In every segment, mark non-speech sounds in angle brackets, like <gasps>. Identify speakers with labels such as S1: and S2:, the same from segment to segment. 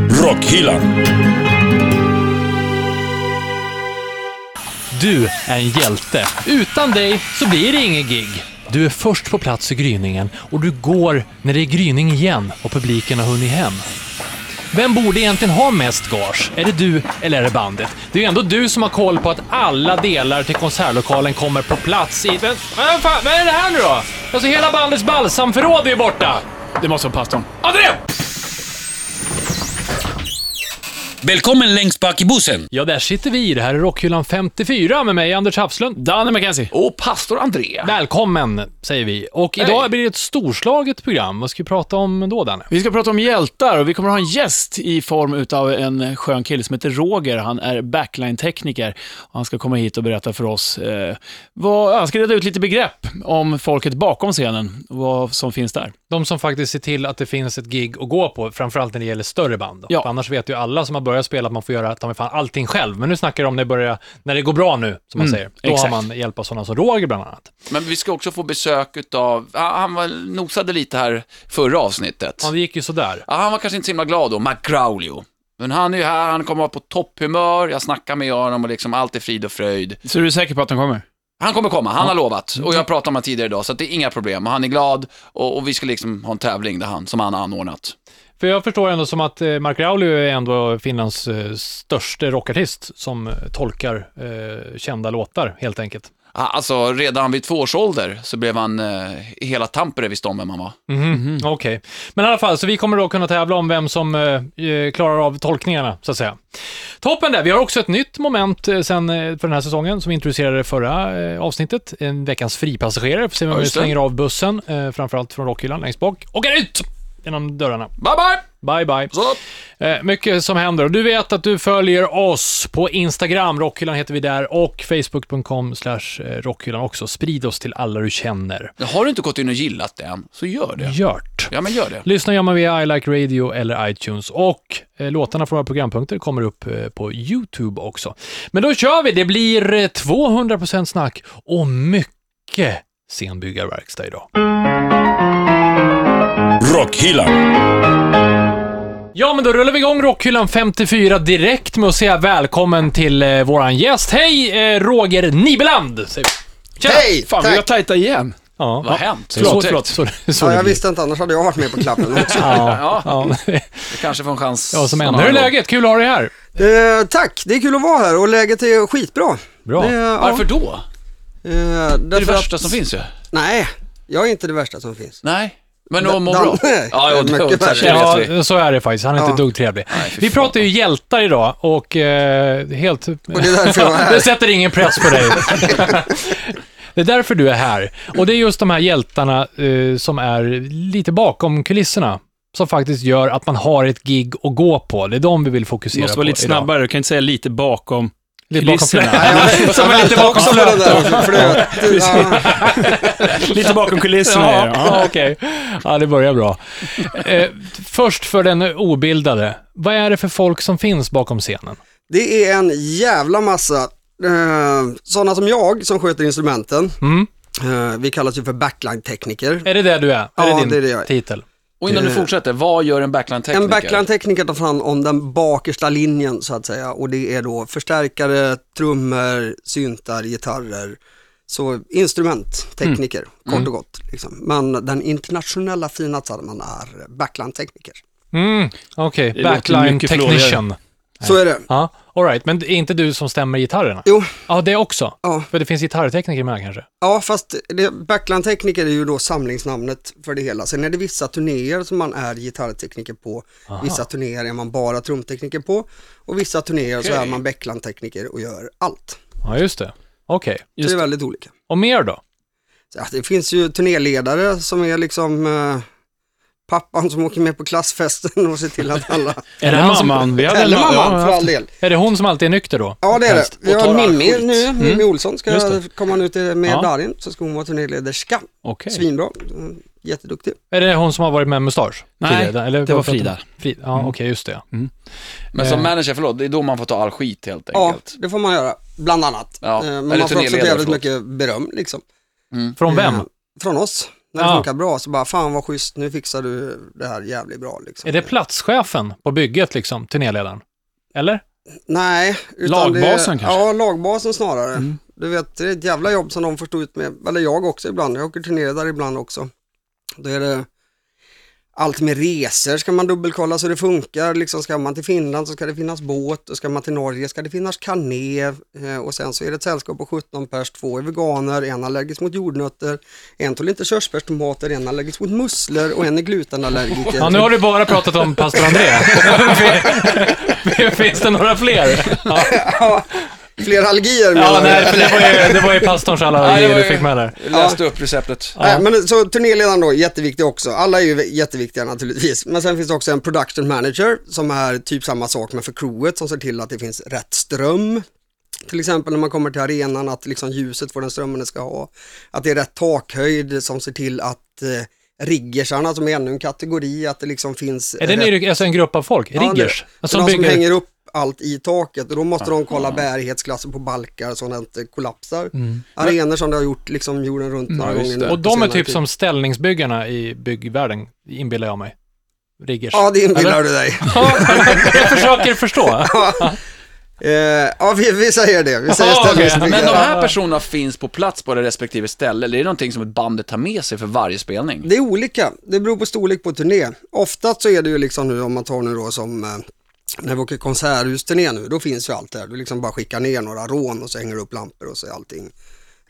S1: Rockhyllan.
S2: Du är en hjälte. Utan dig så blir det ingen gig. Du är först på plats i gryningen och du går när det är gryning igen och publiken har hunnit hem. Vem borde egentligen ha mest gage? Är det du eller är det bandet? Det är ju ändå du som har koll på att alla delar till konsertlokalen kommer på plats i... Men, vad, fan, vad är det här nu då? Alltså hela bandets balsamförråd är ju borta!
S3: Det måste vara pastorn.
S2: André!
S1: Välkommen längst bak i bussen.
S2: Ja, där sitter vi. Det här är Rockhyllan 54 med mig, Anders Hafslund.
S3: Danne McKenzie.
S4: Och pastor André.
S2: Välkommen, säger vi. Och idag
S3: Hej.
S2: blir det ett storslaget program. Vad ska vi prata om då, Danne?
S3: Vi ska prata om hjältar och vi kommer ha en gäst i form utav en skön kille som heter Roger. Han är backline-tekniker och han ska komma hit och berätta för oss. Eh, vad, ja, han ska reda ut lite begrepp om folket bakom scenen och vad som finns där.
S2: De som faktiskt ser till att det finns ett gig att gå på, framförallt när det gäller större band. Då.
S3: Ja.
S2: För annars vet ju alla som har börjat spela att man får göra ta mig fan allting själv. Men nu snackar de om när det, börjar, när det går bra nu, som man säger. Då
S3: Mm, exakt.
S2: har man hjälp av sådana som Roger, bland annat.
S4: Men vi ska också få besök utav, ah, han var, nosade lite här förra avsnittet.
S2: Ja, det gick ju sådär.
S4: Ja, han var kanske inte så himla glad då, McGraulio. Men han är ju här, han kommer vara på topphumör, jag snackar med honom och liksom allt är frid och fröjd.
S3: Så du är säker på att han kommer?
S4: Han kommer komma, han har lovat. Och
S2: Mm.
S4: jag pratade med honom tidigare idag, så att det är inga problem. Och han är glad och, och vi ska liksom ha en tävling där han, som han har anordnat.
S2: För jag förstår ändå som att eh, Mark Rauli är ändå Finlands eh, största rockartist som eh, tolkar eh, kända låtar, helt enkelt.
S4: Ah, Alltså redan vid två års ålder så blev han, eh, hela Tampere visste om vem han var.
S2: Mhm, Okej. Men i alla fall, så vi kommer då kunna tävla om vem som eh, eh, klarar av tolkningarna, så att säga. Toppen där! Vi har också ett nytt moment eh, sen eh, för den här säsongen, som vi introducerade i förra eh, avsnittet. En veckans fripassagerare, får se
S4: Ja,
S2: vem vi
S4: just det.
S2: slänger av bussen, eh, framförallt från rockhyllan längst bak, och är ut! Genom dörrarna.
S4: Bye bye!
S2: Bye, bye.
S4: Så.
S2: Eh, mycket som händer. Och Du vet att du följer oss på Instagram, Rockhyllan heter vi där, och Facebook.com slash eh, Rockhyllan också. Sprid oss till alla du känner.
S4: Har du inte gått in och gillat det än, så gör det.
S2: Gjort.
S4: Ja, men gör det.
S2: Lyssna gör man via I Like Radio eller iTunes och eh, låtarna från våra programpunkter kommer upp eh, på YouTube också. Men då kör vi! Det blir eh, 200% snack och mycket scenbyggarverkstad idag.
S1: Rockhyllan.
S2: Ja, men då rullar vi igång Rockhyllan 54 direkt med att säga välkommen till eh, våran gäst. Hej, eh, Roger Nibeland! säger vi. Tjena!
S5: Hej!
S3: Fan, vi
S5: tack!
S3: har tajta igen.
S2: Ja,
S4: Vad har
S2: ja.
S4: hänt?
S2: Förlåt,
S4: Otäckt.
S2: förlåt. Så, så
S5: Ja,
S2: det
S5: jag
S2: blir.
S5: visste inte, annars hade jag varit med på klappen också.
S2: Ja, ja.
S4: Kanske får en chans.
S2: ja, som
S4: någon
S2: händer. Hur är
S4: annan gång.
S2: läget? Kul att ha dig här.
S5: Eh, tack, det är kul att vara här och läget är skitbra.
S2: Bra.
S5: Det, ja.
S4: Varför då?
S5: Eh, därför
S4: Det är det värsta som finns ju.
S5: Nej, jag är inte det värsta som finns.
S4: Nej, men om
S5: Dan-
S4: mår bra.
S5: Dan-
S4: Ja, jo, det
S5: Mycket
S4: det-
S5: värre.
S4: det vet vi.
S2: Ja, så är det faktiskt. Han är inte
S5: Ja.
S2: ett dugg trevlig.
S4: fy
S2: Vi
S4: fan.
S2: pratar ju hjältar idag och eh, helt...
S5: Och det är därför jag är
S2: Det
S5: här.
S2: sätter ingen press på dig.
S5: <laughs>
S2: Det är därför du är här. Och det är just de här hjältarna eh, som är lite bakom kulisserna, som faktiskt gör att man har ett gig att gå på. Det är de vi vill
S3: Du
S2: fokusera
S3: måste
S2: på
S3: vara lite
S2: idag.
S3: snabbare, du kan inte säga lite bakom
S2: Lite bakom
S3: kulisserna.
S2: kulisserna.
S5: Nej, jag
S2: Som är lite
S5: väntar
S2: bakom
S5: också på den där, för det- ja.
S3: <laughs> lite bakom kulisserna är
S2: Ja,
S3: det.
S2: ja, okej. Ja, det börjar bra. Eh, först för den obildade. Vad är det för folk som finns bakom scenen?
S5: Det är en jävla massa eh, sådana som jag som sköter instrumenten.
S2: Mm.
S5: Eh, vi kallas ju för backline-tekniker.
S2: Är det där du är? Är
S5: Ja,
S2: det din
S5: det är det jag är.
S2: titel?
S4: Och innan du fortsätter, vad gör en backline-tekniker?
S5: En backline-tekniker tar fram om den bakersta linjen så att säga och det är då förstärkare, trummor, syntar, gitarrer. Så instrumenttekniker, kort och gott. Liksom. Men den internationella fina termen är backline-tekniker.
S2: Mm, okej.
S3: Det låter
S2: Backline
S3: mycket flådigare.
S2: technician.
S5: Så är det.
S2: Ja, all right. Men det är inte du som stämmer gitarrerna?
S5: Jo,
S2: Ja, det också.
S5: ja.
S2: För det finns gitarrtekniker med kanske?
S5: ja fast det- backline-tekniker är ju då samlingsnamnet för det hela. Sen är det vissa turnéer som man är gitarrtekniker på. Vissa turnéer är man bara trumtekniker på. Och vissa turnéer så är man backline-tekniker och gör allt.
S2: Ja, just det. Okej.
S5: Så det är väldigt olika.
S2: Och mer då?
S5: Så, ja, det finns ju turnéledare som är liksom eh, pappan som åker med på klassfesten och ser till att alla,
S3: Är det
S2: Eller
S3: han som...
S2: mamman.
S3: Vi hade en
S5: eller
S3: mamma.
S5: mamman för
S3: Ja,
S5: all del.
S2: Är det hon som alltid är nykter då?
S5: Ja det är det. Vi
S4: Och tar
S5: har
S4: all
S5: Mimmi
S4: skit.
S5: nu, Mimmi Olsson ska
S3: Just det.
S5: komma ut med
S3: Ja.
S5: Darin, så ska hon vara turnéledarska.
S3: Okej.
S5: Svinbra, Mm, jätteduktig.
S2: Är det hon som har varit med mustasch?
S3: Nej,
S2: tidigare?
S3: det var
S2: varför inte-
S3: Frida. Mm.
S2: Frida. Ja, okej, just det.
S4: Men som manager, förlåt, det är då man får ta all skit helt
S5: Ja,
S4: enkelt.
S5: det får man göra, bland annat.
S4: Ja,
S5: Eh, Men
S4: eller
S5: man får också
S4: turnéledare,
S5: jävligt
S4: förlåt.
S5: mycket beröm liksom.
S2: Från vem?
S5: Eh, Från oss. När det
S2: Ja.
S5: funkar bra så bara, fan vad schysst, nu fixar du det här jävligt bra. Liksom.
S2: Är det platschefen på bygget, liksom, turnéledaren? Eller?
S5: Nej.
S3: Lagbasen
S5: det,
S3: kanske?
S5: Ja, lagbasen snarare.
S2: Mm.
S5: Du vet, det är ett jävla jobb som de får stå ut med, eller jag också ibland, jag åker turnéledare ibland också. Då är det allt med resor ska man dubbelkolla så det funkar. Liksom ska man till Finland så ska det finnas båt och ska man till Norge ska det finnas kané. Eh, Och sen så är det ett sällskap på 17 pers, två är veganer, en allergisk mot jordnötter, en tål inte körsbärstomater, en allergisk mot musslor och en är glutenallergiker.
S2: Ja, nu har du bara pratat om pastor
S3: <laughs>
S2: André. <laughs> Finns det några fler? Ja,
S5: Ja, Fler allergier
S2: ja
S5: menar
S2: nej,
S5: jag.
S2: för det var ju, det var ju pastorns alla
S4: Ja, det
S2: allergier
S4: var
S2: du
S4: ju-
S2: fick med där.
S4: Jag läste upp receptet.
S5: Nej, men så turnéledaren då, jätteviktig också. Alla är ju jätteviktiga naturligtvis. Men sen finns det också en production manager som är typ samma sak men för crewet som ser till att det finns rätt ström. Till exempel när man kommer till arenan att liksom ljuset får den strömmen det ska ha. Att det är rätt takhöjd som ser till att eh, riggersarna som är ännu en kategori, att det liksom finns...
S2: Är det en,
S5: rätt-
S2: ny- alltså en grupp av folk?
S5: Ja, det-
S2: Riggers?
S5: det är
S2: som
S5: de som
S2: bygger...
S5: hänger upp allt i taket och då måste de kolla bärighetsklasser på balkar så att det inte kollapsar.
S2: Mm.
S5: Arenor som det har gjort liksom jorden runt några
S4: just
S5: gånger
S4: det.
S5: nu
S2: Och
S5: på
S2: de är
S5: senare
S2: typ
S5: tid.
S2: som ställningsbyggarna i byggvärlden, inbillar jag mig. Riggers.
S5: Ja, det inbillar du dig.
S2: Ja, jag försöker
S5: <laughs>
S2: förstå.
S5: Eh, ja, vi, vi säger det. Vi säger
S2: Ja, okej.
S5: ställningsbyggare.
S4: Men de
S2: Ja.
S4: här personerna finns på plats på det respektive ställe, eller är det någonting som ett bandet tar med sig för varje spelning?
S5: Det är olika. Det beror på storlek på turné. Oftast så är det ju liksom nu, om man tar nu då som eh, när vi åker konserthusturné nu, då finns ju allt där. Du liksom bara skickar ner några rån och så hänger du upp lampor och så är allting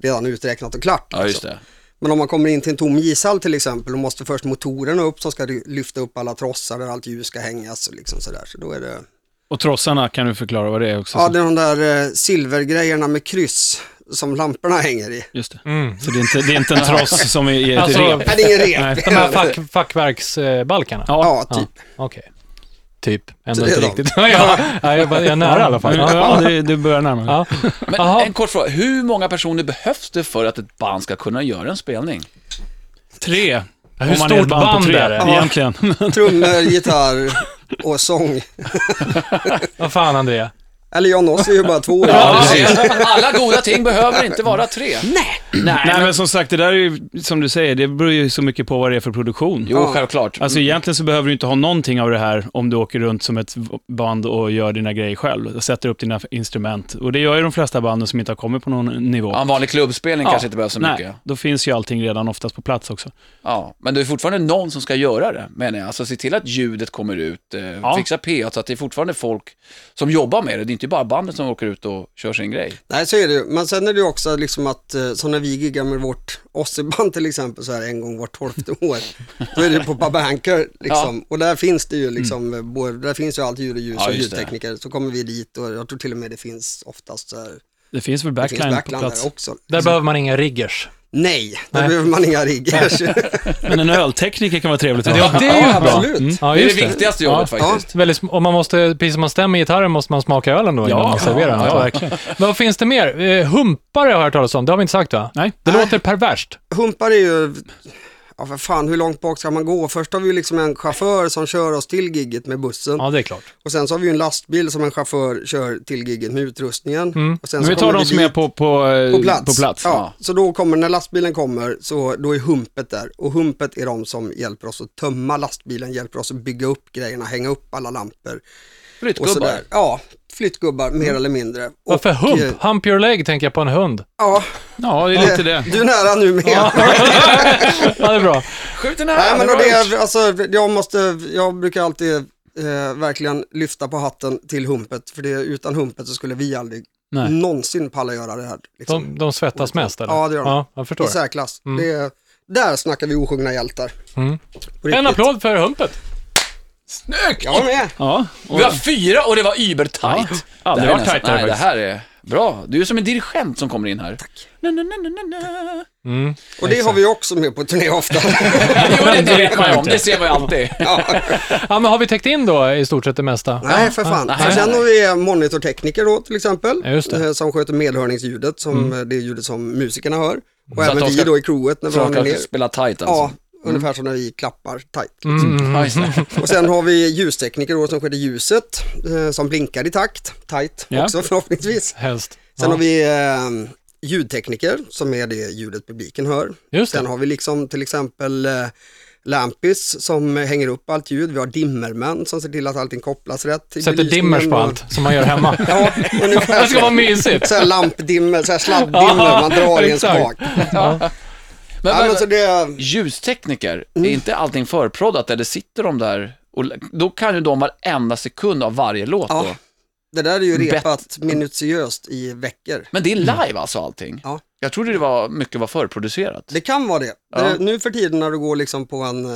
S5: redan uträknat och klart.
S4: Ja, just
S5: liksom.
S4: det.
S5: Men om man kommer in till en tom ishall till exempel, då måste först motorerna upp som ska ry- lyfta upp alla trossar där allt ljus ska hängas och liksom sådär. Så då är det...
S3: Och trossarna kan du förklara vad det är också.
S5: Ja, det är de där eh, silvergrejerna med kryss som lamporna hänger i.
S3: Just det.
S2: Mm.
S3: Så det är, inte, det är
S2: <laughs>
S3: inte en tross som är i ett
S2: Alltså,
S3: rep?
S5: Nej, det är ingen rep.
S3: Nej,
S2: de här fack, fackverksbalkarna?
S5: Ja, typ.
S2: Okej. Typ. Ändå
S5: Så det
S2: inte
S5: är de.
S2: riktigt. <laughs> ja, ja, jag, bara- jag är nära i alla fall. Ja.
S3: Ja, det, det börjar närma sig.
S2: Ja.
S4: Men
S2: Jaha.
S4: en kort fråga, hur många personer behövs det för att ett band ska kunna göra en spelning?
S3: Tre.
S2: Hur
S3: Om man är ett på
S2: stort band
S3: tre,
S2: är det? <laughs>
S5: Ja.
S3: Egentligen.
S5: Trummor, gitarr och sång.
S2: Vad fan, Andrea?
S5: Eller Jan Oss är ju bara två år.
S4: Alla goda ting behöver inte vara tre. Nej.
S3: Nej, men som sagt, det där är ju, som du säger, det beror ju så mycket på vad det är för produktion.
S4: Jo, självklart.
S3: Alltså egentligen så behöver du inte ha någonting av det här om du åker runt som ett v- band och gör dina grejer själv. Och sätter upp dina f- instrument. Och det gör ju de flesta banden som inte har kommit på någon nivå.
S4: Ja, en vanlig klubbspelning
S3: Ja,
S4: kanske inte behövs så
S3: nej,
S4: mycket.
S3: Då finns ju allting redan oftast på plats också.
S4: Ja, men det är fortfarande någon som ska göra det, menar jag. Alltså se till att ljudet kommer ut, eh, fixa PA, så att det är fortfarande folk som jobbar med det. Det är inte bara bandet som åker ut och kör sin grej.
S5: Nej, så är det ju. Men sen är det ju också liksom att, eh, som när vi giggar med vårt Osseband till exempel, så här en gång vart tolfte år, då är det på Babanker liksom. Och där finns det ju liksom, eh, både, där finns ju allt ljud och ljus
S4: Ja,
S5: och
S4: just det.
S5: ljudtekniker. Så kommer vi dit och jag tror till och med det finns oftast så här,
S3: Det finns väl
S5: det
S3: backline,
S5: finns
S3: på
S5: backline
S3: plats.
S5: där också.
S2: Där behöver man inga riggers.
S5: Nej, där
S2: Nej.
S5: behöver man inga riggers. <laughs>
S3: Men en öltekniker kan vara trevligt att
S2: Ja,
S3: ha.
S2: det är ju bra.
S5: Absolut.
S2: Ja,
S4: det är det
S2: just
S4: viktigaste jobbet
S2: Ja.
S4: faktiskt.
S2: Väldigt, sm- om man måste, precis som man stämmer gitarren måste man smaka ölen då innan
S3: Ja.
S2: man serverar den.
S3: Ja,
S2: antar jag.
S3: verkligen.
S2: Men vad finns det mer? Eh, Humpare har jag hört talas om, det har vi inte sagt va?
S3: Nej.
S2: Det låter perverst.
S5: Humpar är ju, ja för fan hur långt bak ska man gå? Först har vi ju liksom en chaufför som kör oss till gigget med bussen.
S2: Ja, det är klart.
S5: Och sen så har vi ju en lastbil som en chaufför kör till gigget med utrustningen. Och sen
S3: Mm. Men
S5: så
S3: vi tar
S5: kommer
S3: de som är
S5: dit
S3: på, på, eh,
S5: på plats.
S3: På plats.
S5: Ja, så då kommer, när lastbilen kommer, så då är humpet där. Och humpet är de som hjälper oss att tömma lastbilen, hjälper oss att bygga upp grejerna, hänga upp alla lampor. Och
S4: Flyttgubbar.
S5: sådär. Ja, flyttgubbar mer
S3: Mm.
S5: eller mindre.
S2: Varför
S5: Och, eh,
S2: hump? Hump your leg tänker jag på en hund.
S5: Ja,
S3: Ja, det är lite det.
S5: <laughs> du är nära nu med.
S2: Ja, det är bra.
S4: Skjut den här!
S5: Nej, men
S4: bra
S5: och det,
S4: gjort.
S5: är- alltså, jag, måste, jag brukar alltid eh, verkligen lyfta på hatten till humpet, för det, utan humpet så skulle vi aldrig
S3: Nej.
S5: någonsin palla göra det här. Liksom.
S2: De, de svettas mest eller?
S5: Ja, det gör de.
S2: Ja, jag förstår.
S5: I särklass. Det, är- där snackar vi osjungna hjältar.
S2: Mm.
S5: På
S2: En
S5: riktigt.
S2: applåd för humpet.
S4: Snyggt!
S5: Jag med.
S3: Ja, och,
S4: Vi har fyra och det var übertajt.
S3: Ja, aldrig
S4: Det här är
S3: varit
S4: nästan-
S3: tajtare
S4: Nej, det
S3: faktiskt.
S4: här är bra. Du är som en dirigent som kommer in här. Tack. Na, na, na, na, na, na.
S5: Och det har vi också med på turné
S2: <laughs>
S5: ofta.
S4: Jo, det, det vet man ju om.
S2: inte.
S4: Det ser man ju alltid.
S5: ja.
S2: Ja, men har vi täckt in då i stort sett det mesta?
S5: Nej, för fan.
S4: nej.
S5: Och sen har vi monitortekniker då till exempel,
S2: Ja, just det. Mm.
S5: eh, som sköter medhörningsljudet, som eh, det ljudet som musikerna hör. Och
S4: Så att
S5: även
S4: de
S5: vi
S4: ska-
S5: då i crewet när vi
S4: Så
S5: har
S4: de
S5: ner.
S4: kan spela tajt
S5: Ja,
S4: alltså.
S2: Mm.
S5: ungefär som när vi klappar tajt.
S4: Ja, just det.
S5: Och sen har vi ljustekniker då som sköter ljuset, eh, som blinkar i takt, tight
S3: Ja.
S5: också <laughs> förhoppningsvis.
S2: Helst.
S5: Sen har vi eh, ljudtekniker som är det ljudet publiken hör.
S2: Just
S5: Sen
S2: det.
S5: har vi liksom till exempel eh, Lampis som hänger upp allt ljud. Vi har dimmermän som ser till att allting kopplas rätt. i
S2: Sätter
S5: belysningen
S2: dimmers på
S5: och-
S2: allt som man gör hemma.
S5: <laughs> Ja, ungefär
S2: <laughs> Det ska
S5: så.
S2: vara mysigt.
S5: Så här lampdimmer, så
S2: <laughs>
S5: här sladdimmer, man drar i en
S2: Exakt.
S5: spak.
S4: Men,
S5: Ja,
S4: men,
S5: men så det,
S4: Ljustekniker,
S5: Mm.
S4: är inte allting förproddat där det sitter de där och då kan ju de varenda sekund av varje låt
S5: Ja.
S4: då.
S5: det där är ju
S4: Bet-
S5: repat minutiöst i veckor.
S4: Men det är live alltså allting?
S5: Mm. Ja.
S4: Jag trodde det var, mycket var förproducerat.
S5: Det kan vara det.
S4: Ja.
S5: det nu för tiden när du går liksom på en, eh,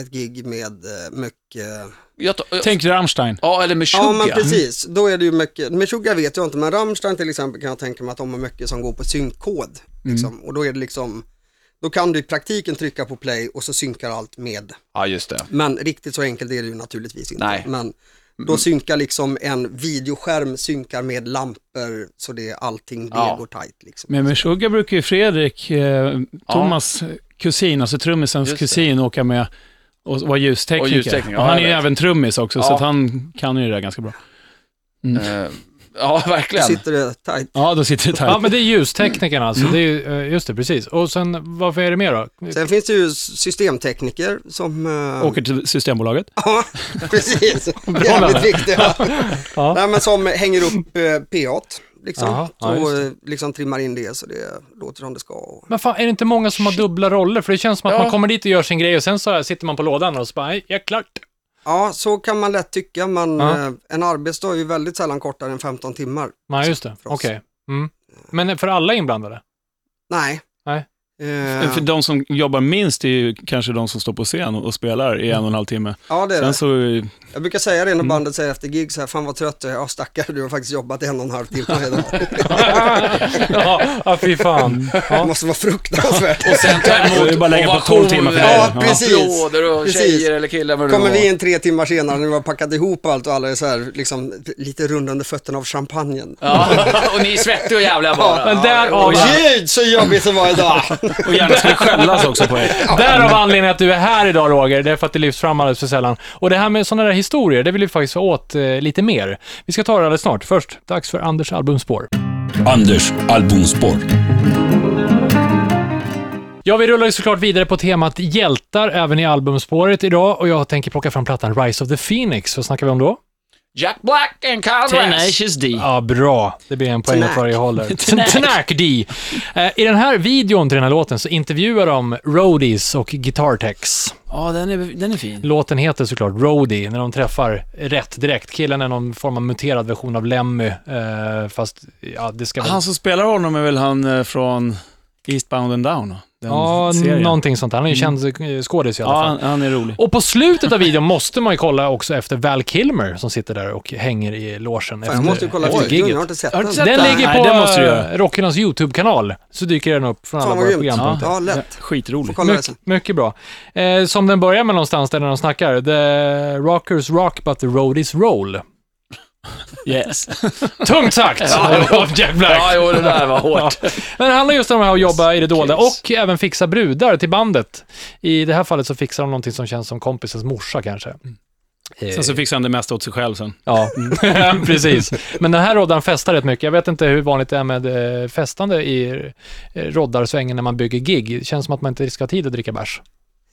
S5: ett gig med eh, mycket
S4: Jag ta-
S3: Tänk dig Rammstein.
S4: Ja, eller med
S5: Ja men
S4: Sugar.
S5: precis, då är det ju mycket, med Sugar vet jag inte, men Rammstein till exempel kan jag tänka mig att de har mycket som går på synkkod.
S4: Mm.
S5: Liksom. Och då är det liksom, då kan du i praktiken trycka på play och så synkar allt med.
S4: Ja, just det.
S5: Men riktigt så enkelt är det ju naturligtvis inte.
S4: Nej. Mm.
S5: Men då synkar liksom en videoskärm synkar med lampor så det är allting det
S4: Ja.
S5: går tajt liksom.
S3: Men med Sugar brukar ju Fredrik, eh, Thomas kusin, alltså trummisens
S4: Just det.
S3: kusin, åka med och vara ljustekniker.
S4: Och
S3: Och
S4: ljustekniker, ja,
S3: han
S4: jag
S3: är ju
S4: vet.
S3: även trummis också, så
S4: Ja.
S3: att han kan ju det där ganska bra.
S4: Eh, ja, <laughs>
S5: Då
S4: verkligen.
S5: sitter det tajt.
S3: Ja, då sitter det tajt.
S2: Ja, men det är ljustekniken alltså. Det är, ju, eh, just det, precis. Och sen, varför är det mer då?
S5: Sen finns det ju systemtekniker som... eh,
S3: Åker till Systembolaget.
S5: <laughs> Ja, precis. Jävligt viktigt. Ja.
S2: Ja.
S5: Nej, men som hänger upp eh, PA't liksom.
S2: Jaha, ja,
S5: och
S2: just
S5: liksom trimmar in det så det låter som det ska. Och...
S2: Men fan, är det inte många som har dubbla roller? För det känns som att
S4: Ja.
S2: man kommer dit och gör sin grej och sen så här sitter man på lådan och så bara, "Nej, jag är klart.
S5: Ja, så kan man lätt tycka, men
S2: Ja.
S5: eh, en arbetsdag är ju väldigt sällan kortare än 15 timmar.
S2: Nej, just det.
S5: För oss.
S2: Okej. Mm. Men för alla inblandade? <laughs>
S5: Nej.
S2: Nej.
S5: Eh,
S6: För de som jobbar minst är ju kanske de som står på scen och och spelar i en och en halv timme.
S5: ja, det är
S6: Sen
S5: det.
S6: så,
S5: Jag brukar säga det när bandet säger efter gig så här, fan vad trött jag är, ja stackare du har faktiskt jobbat en och en halv timme idag.
S2: ja, ja, fy fan.
S5: <laughs> Det
S2: Ja.
S5: måste vara fruktansvärt.
S4: Och sen ta
S6: Det
S4: emot
S6: är bara att lägga på tolv timmar för det.
S4: ovationer,
S5: Ja, precis.
S4: applåder och
S5: Precis.
S4: tjejer eller killar vad det
S5: Kommer
S4: nu var.
S5: vi in tre timmar senare när vi har packat ihop allt och alla är så här, liksom, lite runda under fötterna av champagnen.
S4: Ja, och ni är svettiga och jävliga bara.
S2: Men där
S5: Åh
S2: av,
S5: gud så jobbigt det var idag!
S6: och gärna ska det skällas också på er.
S2: där av anledningen att du är här idag Roger, det är för att det lyfts fram alldeles för sällan. Och det här med sådana där historier, det vill vi faktiskt ha åt eh, lite mer. Vi ska ta det alldeles snart. Först, dags för Anders albumspår.
S1: Anders albumspår.
S2: Ja, vi rullar ju såklart vidare på temat hjältar även i albumspåret idag och jag tänker plocka fram plattan Rise of the Phoenix. Vad snackar vi om då?
S4: Jack Black and Kyle Rash.
S3: D.
S2: Ja, bra. Det blir en poäng åt
S5: Tnack.
S2: varje håller. Tnack D. Eh, I den här videon till den här låten så intervjuar de Roadies och Guitar Techs.
S3: Ja, den är, den är fin.
S2: Låten heter såklart Roadie, när de träffar rätt direkt. Killen är någon form av muterad version av Lemmy, eh, fast ja, det ska väl...
S6: Han som spelar honom är väl han eh, från Eastbound and Down? va? Den
S2: ja,
S6: serien.
S2: någonting sånt. Han är ju känd eh, skådis i alla
S6: ja,
S2: fall.
S6: han, han är rolig.
S2: Och på slutet av videon måste man ju kolla också efter Val Kilmer som sitter där och hänger i logen
S5: Fan,
S2: efter,
S5: jag måste ju kolla
S2: efter
S5: videon,
S2: gigget.
S5: jag har inte sett
S3: Har du
S5: den.
S3: sett
S2: Den ligger
S6: Nej,
S2: på
S6: det måste du
S2: eh,
S6: göra.
S2: Rockylands YouTube-kanal, så dyker den upp från alla
S5: Fan
S2: våra
S5: vad grymt.
S2: programpunkter.
S5: Ja, lätt. Får
S6: Skitrolig.
S5: kolla det
S2: Mycket,
S5: sen.
S2: mycket bra. Eh, som den börjar med någonstans där de snackar. The rockers rock but the roadies roll.
S6: Yes.
S2: Tungt sagt! Av Jack Black.
S4: Ja, jo, det där var hårt.
S2: Men det handlar just om det här att jobba i det dolda och även fixa brudar till bandet. I det här fallet så fixar de någonting som känns som kompisens morsa kanske.
S6: Sen så fixar han det mesta åt sig själv sen.
S2: Ja, Mm. <laughs> precis. Men den här roddan festar rätt mycket. Jag vet inte hur vanligt det är med eh, festande i eh, roddarsvängen när man bygger gig. Det känns som att man inte ska ha tid att dricka bärs.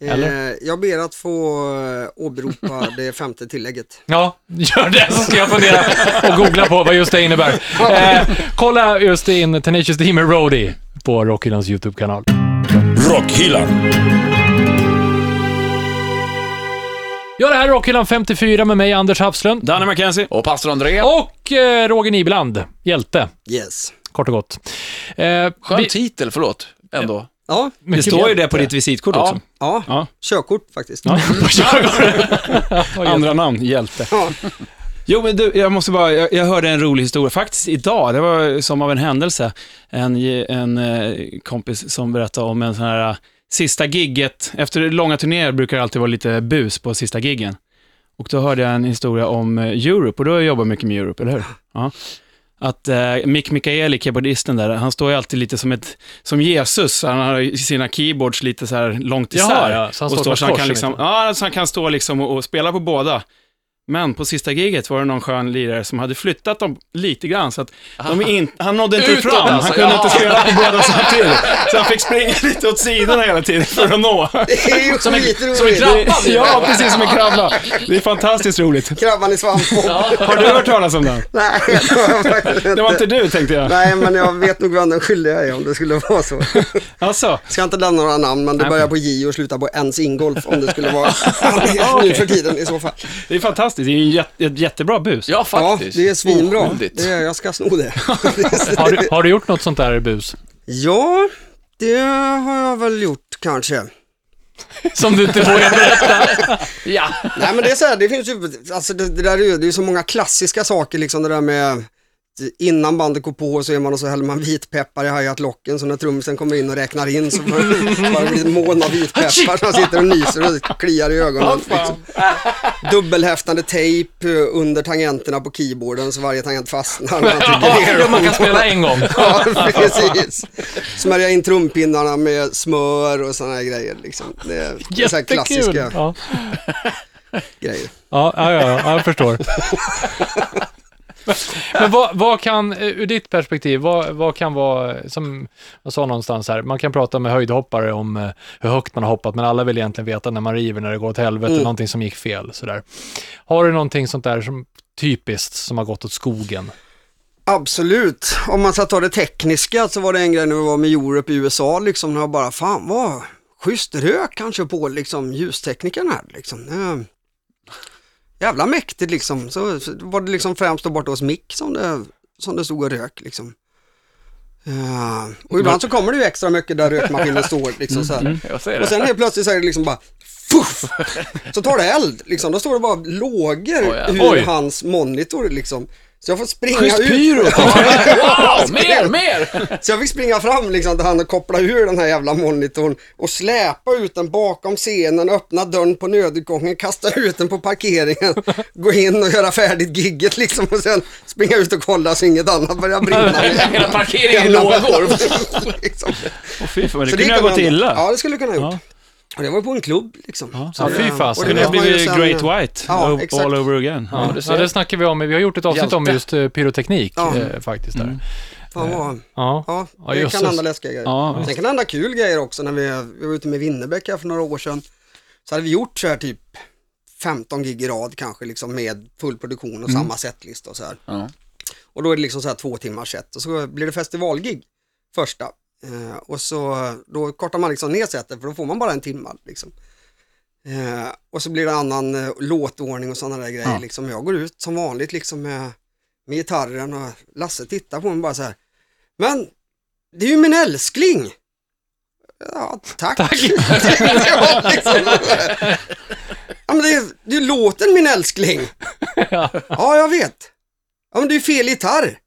S2: Eller?
S5: Eh, jag ber att få eh, åberopa det femte tillägget.
S2: Ja, gör det så ska jag fundera och googla på vad just det innebär. Eh, kolla just in Tenacious D med Roadie på Rockylands YouTube-kanal.
S1: Rockhyllan.
S2: Ja, det här är Rockhyllan 54 med mig, Anders Hafslund.
S6: Danny McKenzie.
S4: Och pastor André.
S2: Och eh, Roger Nibeland, hjälte,
S5: Yes.
S2: kort och gott. Eh,
S4: Skön
S2: vi-
S4: titel, förlåt. Ändå.
S5: Ja,
S6: Det
S2: mycket
S6: står ju
S2: hjälte.
S6: det på ditt visitkort <laughs> också.
S5: ja.
S6: Ja.
S5: körkort faktiskt.
S6: Andra namn, hjälte.
S5: Ja.
S6: Jo, men du, jag måste bara, jag, jag hörde en rolig historia, faktiskt idag, det var som av en händelse, en, en eh, kompis som berättade om en sån här eh, sista gigget, efter långa turnéer brukar det alltid vara lite bus på sista giggen. Och då hörde jag en historia om eh, Europe, och då har jag jobbat mycket med Europe, eller hur? Ja. Att eh, Mick Mikaeli, keyboardisten där, han står ju alltid lite som, ett, som Jesus, han har ju sina keyboards lite så här långt
S2: Jaha,
S6: isär.
S2: ja, så han
S6: och
S2: står
S6: står så han
S2: kors
S6: kan
S2: i
S6: liksom,
S2: mitten.
S6: ja, så han kan stå liksom och, och spela på båda. Men på sista giget var det någon skön lirare som hade flyttat dem lite grann så att de in, han nådde inte
S4: Utåt
S6: fram.
S4: alltså,
S6: han kunde
S4: ja.
S6: inte spela på båda samtidigt. Så han fick springa <laughs> lite åt sidorna hela tiden för att nå.
S5: <laughs> Det är ju
S4: Som en-
S5: skitroligt.
S4: som en krabb. Krabban,
S6: ja, precis som en krabbla. Det är fantastiskt roligt.
S5: Krabban i svampbob.
S6: Har du hört talas om den?
S5: <laughs> Nej, det var faktiskt
S6: Det var inte du tänkte jag.
S5: Nej, men jag vet nog vem den skyldiga är om det skulle vara så.
S6: Alltså,
S5: Ska inte nämna några namn, men det börjar på J och slutar på ens ingolf om det skulle vara <laughs> nu för tiden i så fall.
S6: det är fantastiskt. Det är ju en jätte, ett jättebra bus.
S4: Ja,
S5: Ja,
S4: faktiskt.
S5: det är svinbra.
S4: Oskyldigt.
S5: Det är, jag ska sno det.
S2: Har du, har du gjort något sånt där bus?
S5: Ja, det har jag väl gjort kanske.
S2: Som du inte vågar berätta?
S4: Ja. <laughs>
S5: Nej men det är så här, det finns ju, alltså det, det där är ju, det är ju så många klassiska saker liksom det där med Innan bandet går på så är man och så häller man vitpeppar i hi-hat-locken så när trummisen kommer in och räknar in så får man bli en mån av vitpeppar så han sitter och nyser och kliar i ögonen. Liksom. Dubbelhäftande tejp eh, under tangenterna på keyboarden så varje tangent fastnar när man trycker ner
S2: Ja, man kan spela en gång.
S5: Ja, precis. Smörja in trumpinnarna med smör och sådana här grejer. Liksom. Det är det är så här
S2: Jättekul!
S5: klassiska
S2: Ja.
S5: grejer.
S2: Ja, ja, ja, ja, jag förstår. <laughs> Men vad, vad kan, eh, ur ditt perspektiv, vad, vad kan vara, som jag sa någonstans här, man kan prata med höjdhoppare om eh, hur högt man har hoppat, men alla vill egentligen veta när man river, när det går åt helvete,
S5: Mm.
S2: någonting som gick fel. Sådär. Har du någonting sånt där som typiskt som har gått åt skogen?
S5: Absolut, om man ska ta det tekniska så var det en grej när vi var med Europe i USA liksom, när jag bara, fan vad schysst rök kanske på liksom ljusteknikern här liksom. Eh, Jävla mäktigt liksom, så, så var det liksom främst då borta hos Mick som det, som det stod och rök liksom. Eh, och ibland så kommer det ju extra mycket där rökmaskinen står liksom så här.
S4: Mm, Jag ser
S5: Och
S4: det.
S5: sen helt plötsligt så är det liksom bara fuff! Så tar det eld liksom. Då står det bara lågor
S4: Oj, ja.
S5: ur
S4: Oj.
S5: hans monitor liksom. Så jag får springa
S6: Schysst
S4: <laughs>
S5: ut. <laughs>
S6: pyro!
S4: Ja, mer, mer!
S5: Så jag fick springa fram liksom till han och koppla ur den här jävla monitorn och släpa ut den bakom scenen, öppna dörren på nödutgången, kasta ut den på parkeringen, gå in och göra färdigt gigget liksom och sen springa ut och kolla så inget annat börjar brinna.
S4: Hela parkeringen i lågor.
S5: <laughs> liksom.
S6: Åh, fy fan, men det
S5: Så
S6: kunde ju ha
S5: kan
S6: gått
S5: hända.
S6: illa.
S5: Ja, det skulle kunna ha gjort. Och det var på en klubb liksom.
S2: Ja, fy fasen.
S5: och
S6: Det kunde ha
S5: vet man ju
S6: blivit
S5: sen-
S6: Great White
S5: Ja,
S6: all-
S5: exakt.
S6: all over again. Ja.
S2: Ja, det, ja, det snackar vi om, vi har gjort ett avsnitt om
S4: Hjälte.
S2: just eh, pyroteknik
S5: Ja.
S2: eh, faktiskt. Där.
S5: Fan vad...
S2: Ja.
S5: Ja,
S2: Ja,
S5: det
S2: jösses.
S5: kan hända läskiga grejer.
S6: Ja,
S5: Sen kan det hända kul grejer också. När vi, vi var ute med Winnerbäck här för några år sedan. Så hade vi gjort så här typ 15 gig i rad kanske liksom med full produktion och samma setlista och så här.
S4: Ja.
S5: Och då är det liksom så här två timmars set och så blir det festivalgig första. Eh, och så då kortar man liksom ner setet för då får man bara en timme liksom. Eh, och så blir det annan eh, låtordning och sådana där grejer liksom. Jag går ut som vanligt liksom med, med gitarren och Lasse tittar på mig bara så här. Men det är ju min älskling! Ja, tack. det var liksom, <laughs> ja, men det, är- det är låten min älskling. ja, jag vet. Ja, men det är ju fel gitarr.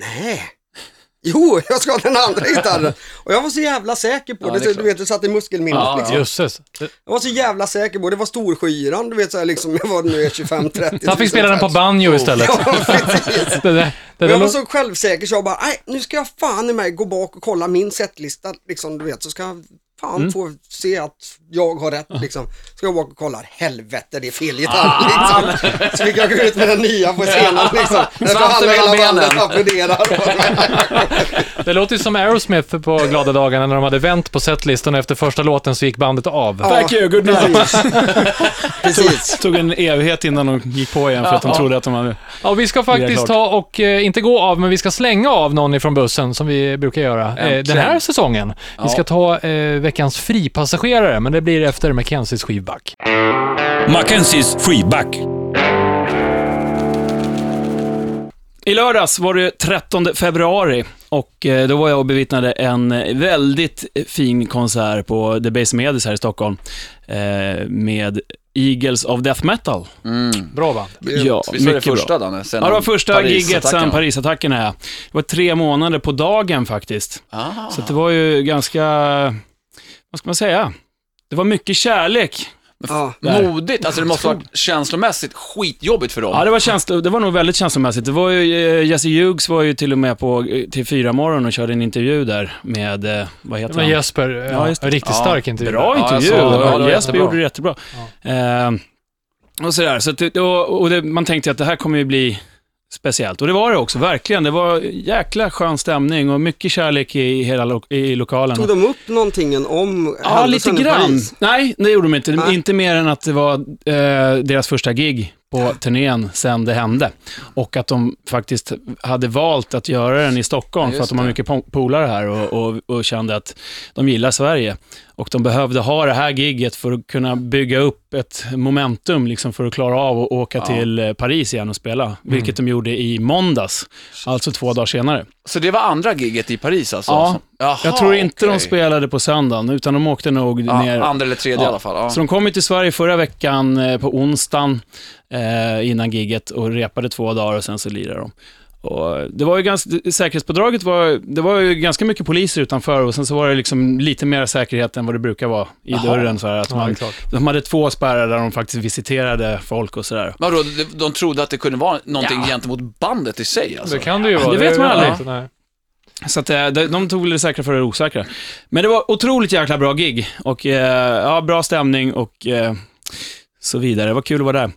S5: Nej. Jo, jag ska ha den andra gitarren. Och jag var så jävla säker på
S4: Ja,
S5: det.
S4: det är
S5: så du vet, det satt i muskelminnet.
S4: Ja, ja.
S5: liksom.
S2: Jösses.
S5: Jag var så jävla säker på det. Det var storskyran, du vet så här liksom. Jag var nu är 25-30.
S2: Han fick spela den på banjo istället.
S5: Ja, precis.
S2: <laughs> Det, där- det, där
S5: Men jag var
S2: lå-
S5: så självsäker så jag bara, nej nu ska jag fan i mig gå bak och kolla min setlista liksom, du vet, så ska jag fan
S4: Mm.
S5: få se att jag har rätt liksom. Ska jag bak och kolla, helvete det är fel gitarr
S4: Ah.
S5: <laughs> liksom. Så fick jag gå ut med den nya på scenen liksom. Därför han och hela
S4: mellan
S5: bandet
S4: benen. <laughs>
S5: applåderar.
S2: Det låter ju som Aerosmith på glada dagarna när de hade vänt på setlistan och efter första låten så gick bandet av.
S6: Thank you, good night.
S5: Precis.
S6: tog en evighet innan de gick på igen för att de trodde att de hade...
S2: Ja, vi ska
S6: Det
S2: faktiskt
S6: är klart.
S2: ta och, eh, inte gå av, men vi ska slänga av någon ifrån bussen som vi brukar göra eh, den
S4: Äntligen.
S2: här säsongen. Vi ska ta eh, veckans fripassagerare, men det blir efter Mackenzies skivback.
S1: Mackenzies freeback.
S6: I lördags var det 13 februari och eh, då var jag och bevittnade en eh, väldigt fin konsert på The Base Medis här i Stockholm eh, med Eagles of Death Metal.
S2: Bra band.
S6: Ja,
S4: Visst var det
S6: mycket bra.
S4: första, Danne? Sen
S6: Ja, det var första gigget
S4: Parisattackerna.
S6: sedan Parisattackerna. ja. Det var tre månader på dagen faktiskt.
S4: Ah.
S6: Så att det var ju ganska, vad ska man säga? Det var mycket kärlek.
S5: Ja.
S6: där.
S4: Modigt, alltså det måste ha varit känslomässigt skitjobbigt för dem.
S6: Ja, det var, känslo, det var nog väldigt känslomässigt. Det var ju, eh, Jesse Hughes var ju till och med på eh, till fyra morgon och körde en intervju där med, eh, vad heter
S2: Men
S6: han?
S2: Jesper, ja,
S6: just det.
S2: riktigt stark intervju.
S6: Bra
S4: Ja, jag
S6: intervju.
S4: såg det. Ja, det var
S6: Jesper
S4: jättebra.
S6: gjorde det jättebra. Eh, Och sådär. Så att det, och, och det, man tänkte att det här kommer ju bli speciellt. Och det var det också, verkligen. Det var jäkla skön stämning och mycket kärlek i hela lo- i lokalen.
S5: Tog de upp någonting om
S6: Ja, lite
S5: händelsen i
S6: grann.
S5: Paris?
S6: Nej, det gjorde de inte.
S5: Nej.
S6: Inte mer än att det var eh, deras första gig på turnén sen det hände. Och att de faktiskt hade valt att göra den i Stockholm
S4: Ja,
S6: för att
S4: just
S6: de har
S4: det.
S6: mycket po- polare här och, och, och kände att de gillar Sverige. Och de behövde ha det här gigget för att kunna bygga upp ett momentum liksom för att klara av att åka
S4: Ja. Mm.
S6: till eh, Paris igen och spela. Vilket de gjorde i måndags, alltså två dagar senare.
S4: Så det var andra giget i Paris alltså?
S6: Ja.
S4: Som- Jaha,
S6: Jag tror inte
S4: okej.
S6: de spelade på söndagen, utan de åkte nog
S4: ja,
S6: ner
S4: Andra eller tredje
S6: Ja.
S4: i alla fall. Ja.
S6: Så de kom ju till Sverige förra veckan eh, på onsdagen eh, innan gigget och repade två dagar och sen så lirade de. Och eh, det var ju ganska, det- säkerhetspådraget var, det var ju ganska mycket poliser utanför och sen så var det liksom lite mer säkerhet än vad det brukar vara i
S4: Jaha.
S6: dörren. Så här, att
S2: Ja, det är
S6: man,
S2: klart.
S6: de hade två spärrar där de faktiskt visiterade folk och sådär.
S4: Vadå, de- de trodde att det kunde vara någonting gentemot bandet i sig alltså?
S2: Det kan det ju alltså vara.
S6: Det vet man
S2: vet
S6: aldrig.
S2: inte, nej.
S6: Så att, eh, de de tog väl det säkra för det osäkra. Men det var otroligt jäkla bra gig och eh, ja, bra stämning och eh, så vidare. Det var kul att vara där.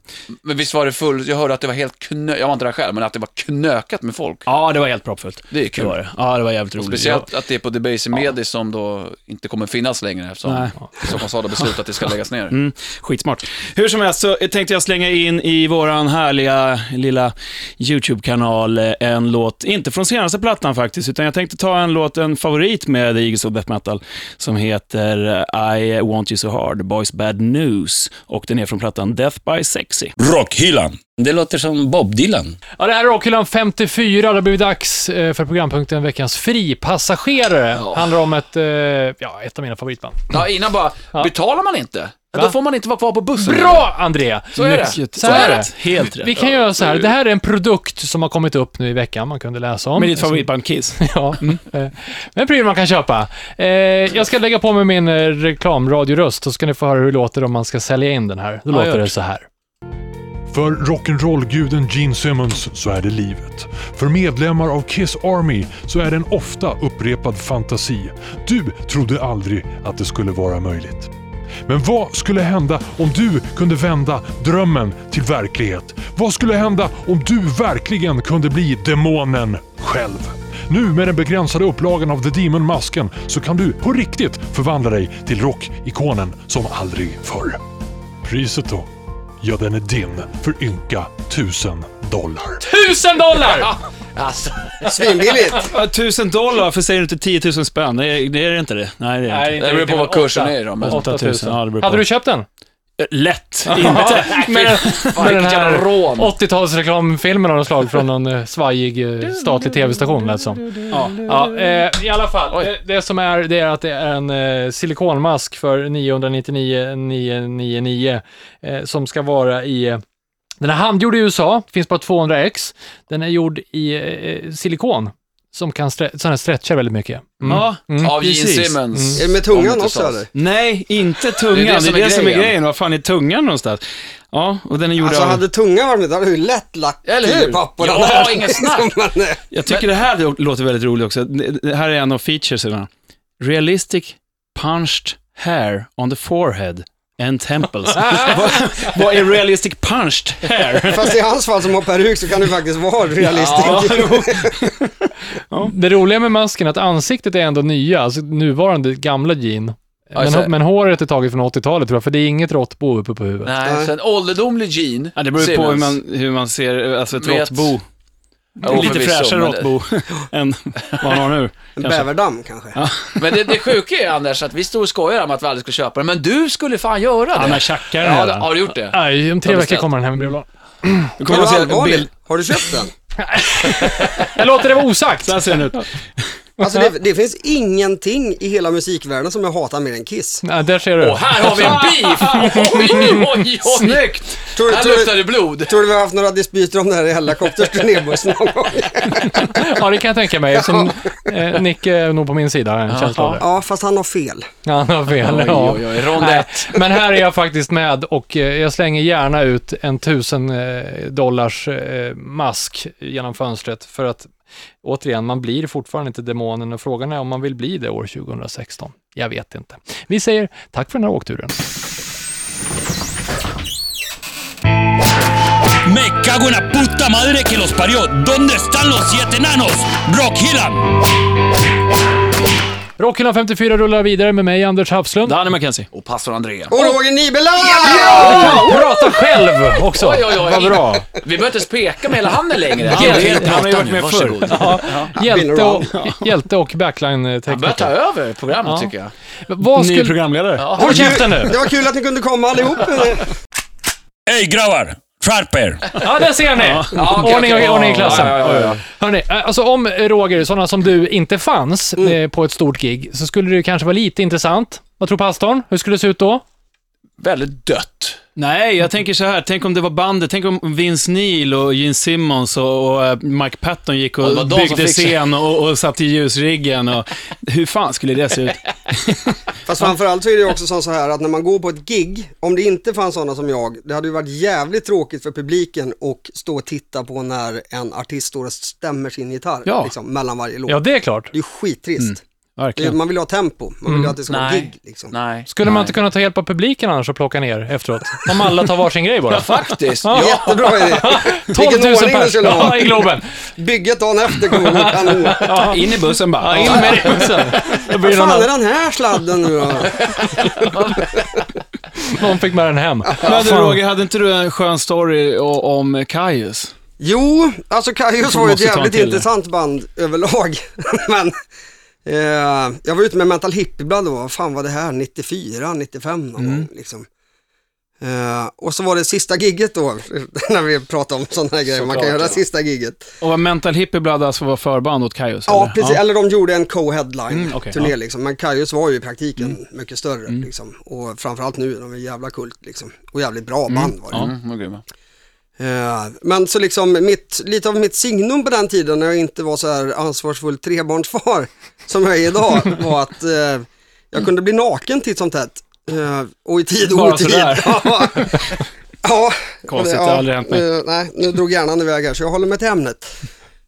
S4: Men visst var det full, jag hörde att det var helt knö, jag var inte där själv, men att det var knökat med folk.
S6: Ja, det var helt proppfullt.
S4: Det är
S6: Det
S4: kul.
S6: var det. Ja, det var jävligt roligt.
S4: Speciellt att det är på Debaser Media som då inte kommer finnas längre eftersom
S6: Nej.
S4: Stockholms stad har beslutat att
S6: <laughs>
S4: det ska läggas ner.
S6: Mm, skitsmart. Hur som helst så tänkte jag slänga in i våran härliga lilla YouTube-kanal eh, en låt, inte från senaste plattan faktiskt, utan jag tänkte ta en låt, en favorit med The Eagles of Death Metal, som heter eh, I Want You So Hard, Boys Bad News, och den är från plattan Death By Sexy.
S1: Rockhyllan. Det låter som Bob Dylan.
S2: Ja, det här är Rockhyllan 54. Det har blivit dags eh, för programpunkten Veckans fripassagerare. Handlar om ett, eh, ja, ett av mina favoritband.
S4: Ja, innan bara, betalar man inte, då får man inte vara kvar på bussen.
S2: Bra, André!
S4: Så är det.
S6: Mycket-
S2: Så är det.
S6: Helt rätt.
S2: Vi kan göra så här. Det här är en produkt som har kommit upp nu i veckan. Man kunde läsa om.
S6: Med ditt favoritband Kiss.
S2: <laughs> Ja. eh, En pryl man kan köpa. Eh, Jag ska lägga på mig min eh, reklamradioröst, så ska ni få höra hur det låter om man ska sälja in den här. Då låter det så här.
S7: För rock'n'roll-guden Gene Simmons så är det livet. För medlemmar av Kiss Army så är det en ofta upprepad fantasi. Du trodde aldrig att det skulle vara möjligt. Men vad skulle hända om du kunde vända drömmen till verklighet? Vad skulle hända om du verkligen kunde bli demonen själv? Nu med den begränsade upplagan av The Demon Masken så kan du på riktigt förvandla dig till rockikonen som aldrig förr. Priset då? Ja, den är din för ynka tusen dollar.
S2: Tusen dollar!
S4: Alltså,
S5: Svinbilligt!
S6: Tusen dollar, för säger du inte 10 000 spänn? Det är, det är det inte det. Nej, det är det
S2: Nej, inte
S6: inte.
S4: det beror på
S2: riktigt,
S4: vad
S2: men
S4: kursen
S2: åtta.
S4: är då. Men,
S2: Åtta.
S6: 8000, ja, det beror på.
S2: Hade du köpt den?
S6: <laughs> Lätt.
S2: Inte? med, med den
S4: vilket
S2: här
S4: jävla rån.
S2: 80-talsreklamfilmen av något slag från någon eh, svajig eh, statlig tv-station lät som.
S6: Ja.
S2: Ja, eh, i alla fall. Det, det som är, det är att det är en eh, silikonmask för 999 999 eh, som ska vara i eh, den är handgjord i USA, finns bara 200 x. Den är gjord i eh, silikon som kan stre- sån här stretchar väldigt mycket. Mm.
S6: Ja.
S4: av Gene
S6: Precis.
S4: Simmons.
S5: Mm. Är det med
S4: Om
S5: tungan
S4: inte
S5: också
S4: sas.
S5: eller?
S6: Nej, inte tungan. Det är det, som, är grejen. Vad fan är tungan någonstans? Ja, och den är gjord
S5: Alltså
S6: av...
S5: hade tungan varit med, då hade du ju lätt lagt
S4: Eller hur?
S5: pappa på den
S4: Ja,
S5: där.
S4: inget
S5: <laughs>
S4: snack.
S5: Men, eh,
S6: Jag tycker det här lå- låter väldigt roligt också. Det det här är en av featuresarna. Realistic punched hair on the forehead and <laughs> temples. vad, vad är realistic punched <laughs> hair?
S5: Fast i hans fall som har peruk så kan du faktiskt vara realistisk.
S2: Det roliga med masken är att ansiktet är ändå nya, alltså nuvarande gamla Gene.
S4: just det.
S2: Men, men håret är taget från 80-talet tror jag, för det är inget råttbo uppe på huvudet.
S4: Nej, så en ålderdomlig Gene
S6: Ja, det beror ju på hur
S4: Simmons.
S6: man, hur man ser, alltså ett
S4: Vet.
S6: råttbo.
S4: Jo,
S6: Lite
S4: förvisso,
S6: fräschare
S4: men-
S6: råttbo <laughs> än vad han har nu.
S5: En
S6: Kanske.
S5: bäverdamm kanske.
S4: Men det, det sjuka är Anders, att vi stod och skojade om att vi aldrig skulle köpa den, men du skulle fan göra det.
S6: Han har tjackat
S4: ja, det-
S6: redan.
S4: har du gjort det?
S2: Nej, om tre
S4: Har
S2: veckor
S4: beställt.
S2: kommer den hem i brevlådan.
S6: Du
S5: Men
S6: kommer
S5: du
S6: att se bild.
S5: allvarlig, har du köpt den?
S2: Jag låter det vara osagt.
S6: Så här ser den ut.
S5: Alltså det, det finns ingenting i hela musikvärlden som jag hatar mer än Kiss.
S2: Nej, där ser du.
S4: Och här har vi en beef! Oj, oj, oj! Snyggt!
S5: Tror du,
S4: Här
S5: tror,
S4: luktar
S5: du,
S4: det blod.
S5: tror du vi har haft några dispyter om det här i Hellacopters turnébuss någon gång?
S2: Ja, det kan jag tänka mig. Som, eh, Nick är nog på min sida, har jag en känsla av det.
S5: Ja, fast han har fel.
S2: Ja, Han har fel. ja.
S4: Oj, oj, oj, rondett.
S2: Nej, Men här är jag faktiskt med och eh, jag slänger gärna ut en tusen eh, dollars eh, mask genom fönstret för att återigen, man blir fortfarande inte demonen och frågan är om man vill bli det år 2016. Jag vet inte. Vi säger tack för den här åkturen.
S1: cago en la puta madre que los parió. ¿Dónde están los siete enanos? Brock Hillam.
S2: Rockhyllan 54 rullar vidare med mig, Anders Hafslund.
S3: Danny McKenzie.
S4: Och pastor Andrea.
S5: Och Roger Nibela!
S2: Prata själv också!
S4: Oj, oj, oj.
S2: Vad bra.
S4: Vi behöver inte speka med hela handen längre.
S3: Han
S4: Helt-
S3: har ju
S4: helt
S3: varit
S4: prata nu,
S3: med förr.
S4: varsågod.
S2: Hjälte och,
S5: Been
S2: hjälte och
S4: Han börjar ta
S2: backline-tekniker.
S4: över programmet tycker jag.
S2: Vad
S6: Ny
S2: skulle...
S6: programledare.
S2: Håll käften nu!
S5: Det var kul att ni kunde komma allihop.
S1: Ey grabbar, skärp er.
S2: Ja, där ser ni!
S4: Ja, okej,
S2: Ordning,
S4: okej.
S2: och, ordning i klassen.
S4: Ja, ja, ja, ja.
S2: Hörrni, eh, alltså om eh, Roger, sådana som du, inte fanns eh, på ett stort gig, så skulle det ju kanske vara lite intressant. Vad tror pastorn? Hur skulle det se ut då?
S4: Väldigt dött.
S6: Nej, jag tänker så här. Tänk om det var bandet. Tänk om Vince Neil och Gene Simmons och, och eh, Mike Patton gick
S4: Ja, det
S6: och
S4: var de som
S6: byggde
S4: fixade.
S6: scen och, och satte i ljusriggen. Och, hur fan skulle det se ut?
S5: Fast framförallt så är det ju också som så här att när man går på ett gig, om det inte fanns sådana som jag, det hade ju varit jävligt tråkigt för publiken och stå och titta på när en artist står och stämmer sin gitarr
S6: Ja.
S5: liksom, mellan varje låt.
S2: Ja, Mm. det är klart.
S5: Det är skittrist. Det är,
S6: Verkligen.
S5: man vill ju ha tempo, man
S2: Mm.
S5: vill ju att det ska vara
S4: Nej.
S5: gig liksom.
S4: Nej.
S2: Skulle man inte kunna ta hjälp av publiken annars och plocka ner efteråt? Om alla tar varsin grej bara.
S4: Faktiskt.
S2: <laughs>
S5: Jättebra idé!
S2: 12 000
S5: Vilken ordning det
S2: pers
S5: skulle
S2: ja,
S5: vara.
S2: i Globen.
S5: Bygget dagen efter kommer gå
S2: <laughs>
S5: kanon.
S6: In i bussen bara.
S2: In med det sen. Då blir
S5: Vad
S2: det någon,
S5: fan är
S2: annan-
S5: den här sladden nu då?
S2: någon fick med den hem.
S6: Men du
S2: Fan.
S6: Roger, hade inte du en skön story o- om Kaius?
S5: Jo, alltså Kaios var ju ett
S6: måste ta en
S5: jävligt
S6: till.
S5: intressant band överlag. <laughs> Men eh, jag var ute med Mental Hip ibland då, vad fan var det här, 94, 95 någon
S6: Mm.
S5: gång liksom. Eh, och så var det sista gigget då, <laughs> när vi pratade om sådana här grejer, man kan göra sista gigget.
S6: Och var Mental Hippie Blood alltså var förband åt Kaius?
S5: Ja,
S6: eller?
S5: precis. Eller de gjorde en co-headline
S6: Mm, okej, Mm.
S5: turné liksom. Men Kaius var ju i praktiken mycket större liksom. Och framförallt nu, de är jävla kult liksom. Och jävligt bra band var det.
S4: Mm, vad grymma.
S5: Eh, Men så liksom, mitt, lite av mitt signum på den tiden när jag inte var så här ansvarsfull trebarnsfar <laughs> som jag är idag var att eh, jag kunde bli naken titt som tätt. Eh, och i tid och
S6: Bara
S5: otid.
S6: sådär.
S5: <laughs> Ja. ja.
S6: Konstigt, det har aldrig hänt mig.
S5: eh, nej, nu drog hjärnan iväg här så jag håller mig till ämnet.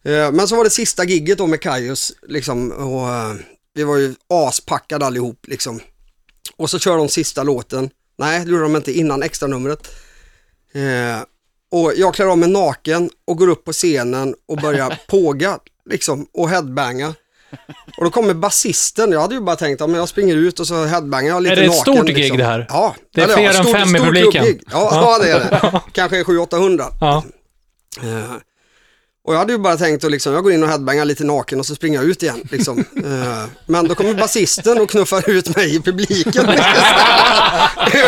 S5: Eh, men så var det sista gigget då med Kaius liksom och eh, vi var ju aspackade allihop liksom. Och så kör de sista låten. Nej, det gjorde de inte innan extra numret. Eh, och jag klär av mig naken och går upp på scenen
S2: <laughs>
S5: och börjar påga liksom och headbanga. Och då kommer basisten, jag hade ju bara tänkt att jag springer ut och så headbangar jag lite
S2: Är det ett
S5: naken.
S2: stort gig
S5: liksom.
S2: det här?
S5: Ja.
S2: Det är
S5: Eller
S2: fler än
S5: stort-
S2: fem i
S5: stort
S2: publiken.
S5: klubbgig. Ja, ja. det är
S2: <laughs>
S5: det. Kanske 700-800.
S2: Ja.
S5: Eh, och jag hade ju bara tänkt att liksom, jag går in och headbangar lite naken och så springer jag ut igen. Liksom. Eh, men då kommer basisten och knuffar ut mig
S2: <laughs>
S5: i publiken.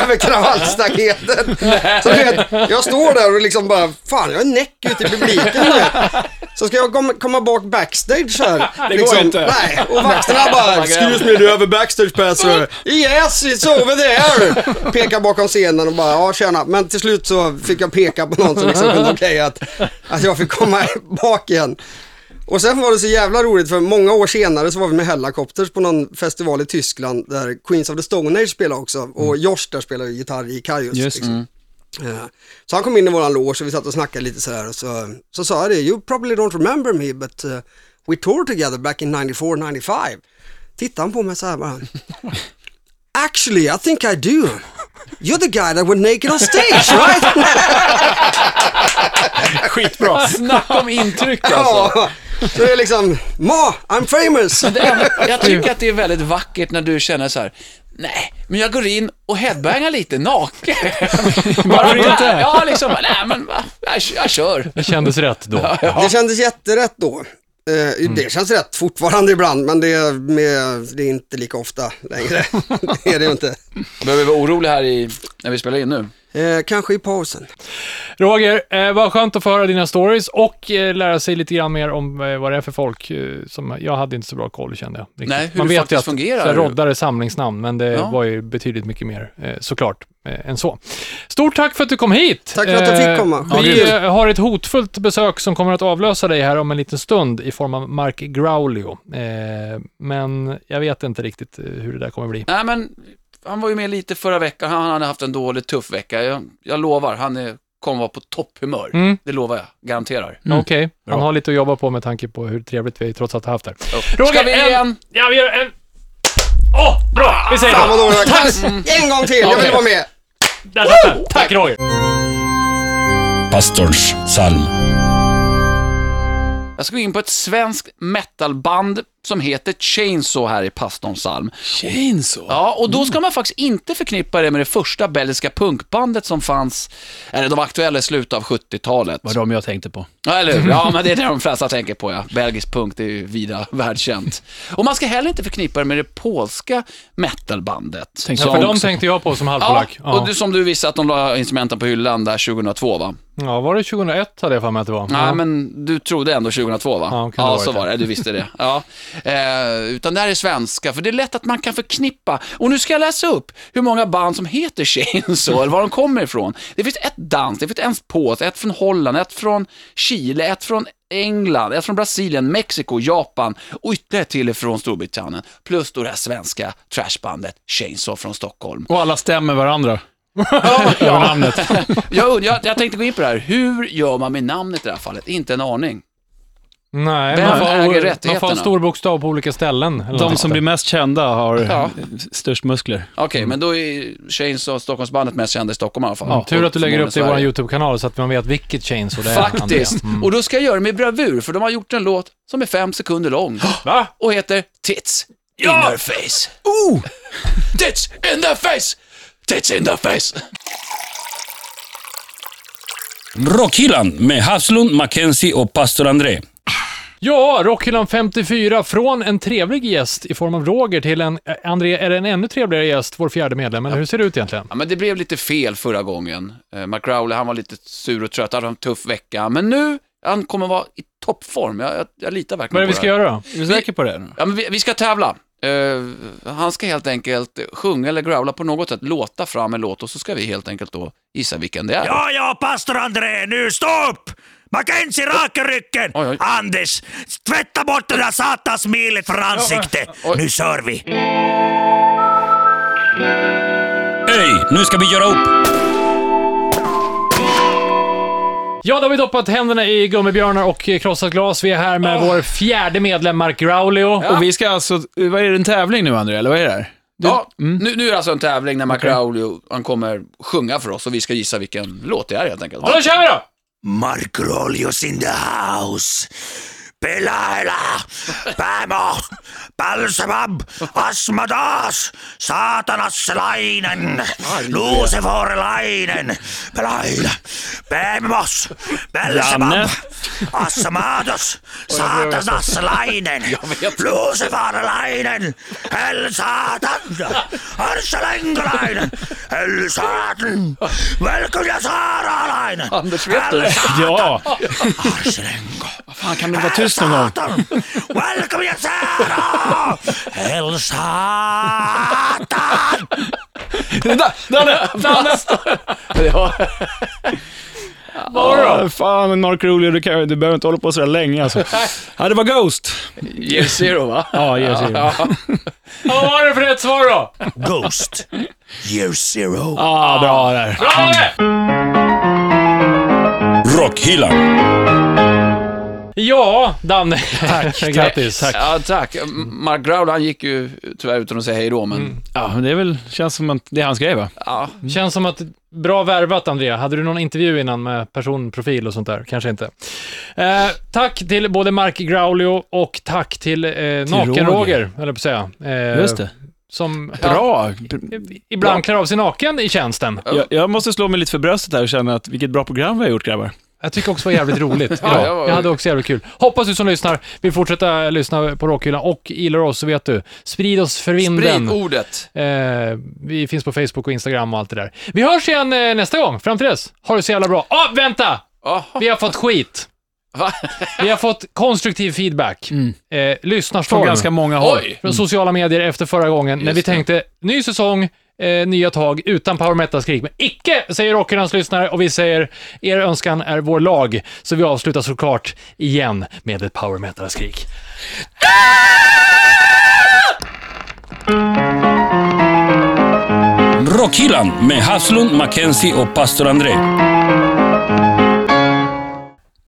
S5: Över kravallstaketet. Så du vet, jag står där och liksom bara, fan jag är näck ute i publiken nu. Så ska jag komma, komma bak backstage här. Det liksom, går inte. Nej, och vakterna bara, excuse me, du är över backstage passer. Yes, it's over there. Pekar bakom scenen och bara, ja tjena. Men till slut så fick jag peka på någon som liksom <laughs> kunde okej att, att jag fick komma bak igen. Och sen var det så jävla roligt för många år senare så var vi med Hellacopters på någon festival i Tyskland där Queens of the Stone Age spelade också och Josh där spelade ju gitarr i Kaius. liksom. Eh, Så han kom in i våran loge och vi satt och snackade lite sådär och så, så sa jag det, you probably don't remember me but uh, we toured together back in 94-95. Tittade han på mig såhär bara. Actually I think I do. You're the guy that went naked on stage right?
S2: Skitbra. Snacka om intryck alltså.
S5: <laughs> ja. Så det är liksom, ma, I'm famous.
S4: Det är- Jag tycker att det är väldigt vackert när du känner så här. Nej, men jag går in och headbangar lite naken. Varför
S2: inte?
S4: Ja, liksom, nej men va, jag, jag kör.
S2: Det kändes rätt då.
S5: Det kändes jätterätt då. Eh, Det känns rätt fortfarande ibland, men det är, med, det är inte lika ofta längre. det är det ju inte.
S4: Behöver vi vara oroliga här i, när vi spelar in nu?
S5: Eh, kanske i pausen.
S2: Roger, eh, vad skönt att få höra dina stories och eh, lära sig lite grann mer om eh, vad det är för folk. Eh, som, jag hade inte så bra koll kände jag. riktigt.
S4: Nej, hur
S2: Man
S4: det
S2: vet ju
S4: faktiskt
S2: att
S4: fungerar.
S2: sådär roddare är samlingsnamn, men det
S4: Ja.
S2: var ju betydligt mycket mer eh, såklart eh, än så. Stort tack för att du kom hit.
S5: Tack för att jag
S2: Eh,
S5: fick komma.
S2: Vi
S5: Ja,
S2: eh, har ett hotfullt besök som kommer att avlösa dig här om en liten stund i form av Mark Graulio. Eh, men jag vet inte riktigt eh, hur det där kommer bli.
S4: Nej, men han var ju med lite förra veckan. Han hade haft en dålig, tuff vecka. Jag, jag lovar, han är, kommer vara på topphumör.
S2: Mm.
S4: Det lovar jag, garanterar.
S2: Okej, han har lite att jobba på med tanke på hur trevligt vi trots allt har haft det.
S4: Ska vi
S2: en-
S4: igen?
S2: Ja, vi gör en... Åh, bra! Vi säger
S5: Fan
S2: så.
S5: vad dålig jag kan. En gång till, jag vill vara med.
S2: Där satt den. Tack Roger!
S1: pastorns psalm.
S4: Jag ska gå in på ett svenskt metalband som heter Chainsaw här i Pastorns psalm.
S6: Chainsaw?
S4: Ja, och då ska man faktiskt inte förknippa det med det första belgiska punkbandet som fanns, eller de var aktuella i slutet av 70-talet.
S6: Vad de jag tänkte på.
S4: Ja, eller hur? Ja, men det är det de flesta tänker på, ja. Belgisk punk, det är ju vida världskänt. Och man ska heller inte förknippa det med det polska metalbandet.
S2: Ja, för de tänkte jag på som
S4: Ja,
S2: halvpolack. Ja,
S4: och du, som du visste att de la instrumenten på hyllan där 2002 va?
S2: ja, var det 2001 hade jag för mig att det var?
S4: Nej,
S2: Ja.
S4: men du trodde ändå 2002 va?
S2: Ja, kan det ha
S4: så
S2: varit
S4: var det. Du visste det. Ja. Eh, utan det här är svenska, för det är lätt att man kan förknippa. Och nu ska jag läsa upp hur många band som
S2: <laughs>
S4: heter Chainsaw, eller var de kommer ifrån. Det finns ett danskt, det finns en polskt, ett från Holland, ett från Chile, ett från England, ett från Brasilien, Mexiko, Japan och ytterligare ett till från Storbritannien. Plus då det här svenska trashbandet Chainsaw
S2: <laughs>
S4: från Stockholm.
S6: Och alla stämmer varandra.
S4: <laughs> Jag, und- jag, jag tänkte gå in på det här, hur gör man med namnet i det här fallet? Inte en aning.
S2: Nej,
S4: Vem
S2: man får,
S4: äger
S2: man får
S4: rättigheterna?
S2: en stor bokstav på olika ställen. eller
S6: De
S2: något
S6: som
S2: sånt där.
S6: blir mest kända har
S4: Ja.
S6: störst muskler.
S4: Okej,
S2: Mm.
S4: men då är Chainsaw Stockholmsbandet mest kända i Stockholm i alla fall.
S2: Ja, Mm, tur att du
S4: Och
S2: lägger upp det i vår
S4: förmodligen
S2: YouTube-kanal så att man vet vilket Chainsaw det
S4: Sverige.
S2: är.
S4: Faktiskt!
S2: Andrea. Mm.
S4: Och då ska jag göra det med bravur, för de har gjort en låt som är fem sekunder lång.
S2: <gasps> Va?
S4: Och heter Tits in her face. Oh! Tits in the face! Tits in the face!
S1: Rockhyllan med Haslund, Mackenzie och pastor André.
S2: Ja, Rockhyllan 54 från en trevlig gäst i form av Roger till en, eh, André, är det en ännu trevligare gäst, vår fjärde medlem, eller hur ser det ut egentligen?
S4: Ja, men det blev lite fel förra gången. Eh, Mark Rowley, han var lite sur och trött, han hade en tuff vecka. Men nu, han kommer vara i toppform. Jag, jag, jag litar verkligen
S2: Vad är det vi
S4: på
S2: ska göra då?
S6: Är du säker på det? nu?
S4: Ja, men vi, vi ska tävla. Eh, han ska helt enkelt sjunga eller growla på något sätt, låta fram en låt och så ska vi helt enkelt då gissa vilken det är.
S8: Ja, ja, pastor André, nu stå upp! Mackenzie, raka ryggen!
S4: Oj, oj.
S8: Anders, tvätta bort det där satans milet från ansiktet! Nu kör vi!
S1: Öj, nu ska vi göra upp.
S2: Ja, då har vi doppat händerna i gummibjörnar och eh, krossat glas. Vi är här
S6: Ah.
S2: med vår fjärde medlem, Mark Graulio.
S6: Och vi ska alltså, vad är det, en tävling nu André, eller vad är det här?
S4: Ja, nu, nu är det alltså en tävling när Mark Raulio, han kommer sjunga för oss och vi ska gissa vilken låt det är helt enkelt.
S2: Då kör vi
S6: <laughs>
S2: då!
S8: Mark Rolius in the house! Pelaela, Pämo, Pälsebab, Asmadas, saatanasslainen, luuseforilainen, Pelaela, Pämos,
S6: Janne.
S8: Pälsebab, Asmadas, saatanasslainen, luuseforilainen, hell saatan, arselänkolainen, hell saatan, välkylä saaralainen,
S4: Anders, vet du?
S6: Ja,
S8: Arselenko.
S6: fan kan du vara tyst någon gång?
S8: Satan! Welcome you Satan! Hell Satan!
S6: Danne! Danne! Ja, fan Mark Rulio, du, kan- du behöver inte hålla på sådär länge alltså. Ja, det var Ghost.
S4: Year Zero va?
S6: Ja, jag ser det.
S2: Vad var det för rätt svar då?
S8: Ghost. Year zero.
S6: Ja, bra där.
S2: Bra!
S1: Rockhyllan.
S2: Ja, Danne. <laughs> Tack, Grattis. Tack.
S4: Ja, tack. Mark Raulio, han gick ju tyvärr utan att säga hej då, men
S6: Ja, men det är väl, känns som att det är hans grej va?
S4: ja.
S2: Känns som att bra värvat, Andrea. Hade du någon intervju innan med personprofil och sånt där? Kanske inte. Eh, tack till både Mark Graulio och tack till, eh, Naken-Roger, höll jag på att säga. Eh,
S6: Just det.
S2: Som ja,
S6: Bra.
S2: ibland
S6: Bra.
S2: klär av sig naken i tjänsten.
S6: Jag, jag måste slå mig lite för bröstet här och känna att vilket bra program vi har gjort grabbar.
S2: Jag tycker också det var jävligt roligt idag.
S4: jag var-
S2: Jag hade också jävligt kul. Hoppas du som lyssnar vill fortsätta lyssna på Rockhyllan och gillar oss så vet du, sprid oss för vinden.
S4: Sprid ordet.
S2: Eh, vi finns på Facebook och Instagram och allt det där. Vi hörs igen eh, nästa gång. Fram till dess, ha det så jävla bra. Ah, vänta!
S4: Jaha,
S2: Vi har fått skit.
S4: va?
S2: Vi har fått konstruktiv feedback. Eh, lyssnarstorm.
S6: Mm. Från ganska många håll. Mm.
S4: Oj!
S2: från sociala medier efter förra gången när vi tänkte ny säsong, eh, nya tag utan power metal-skrik. Men icke, säger Rockernas lyssnare och vi säger er önskan är vår lag. Så vi avslutar såklart igen med ett power metal-skrik.
S1: Rockhyllan med Haslund, Mackenzie och pastor André.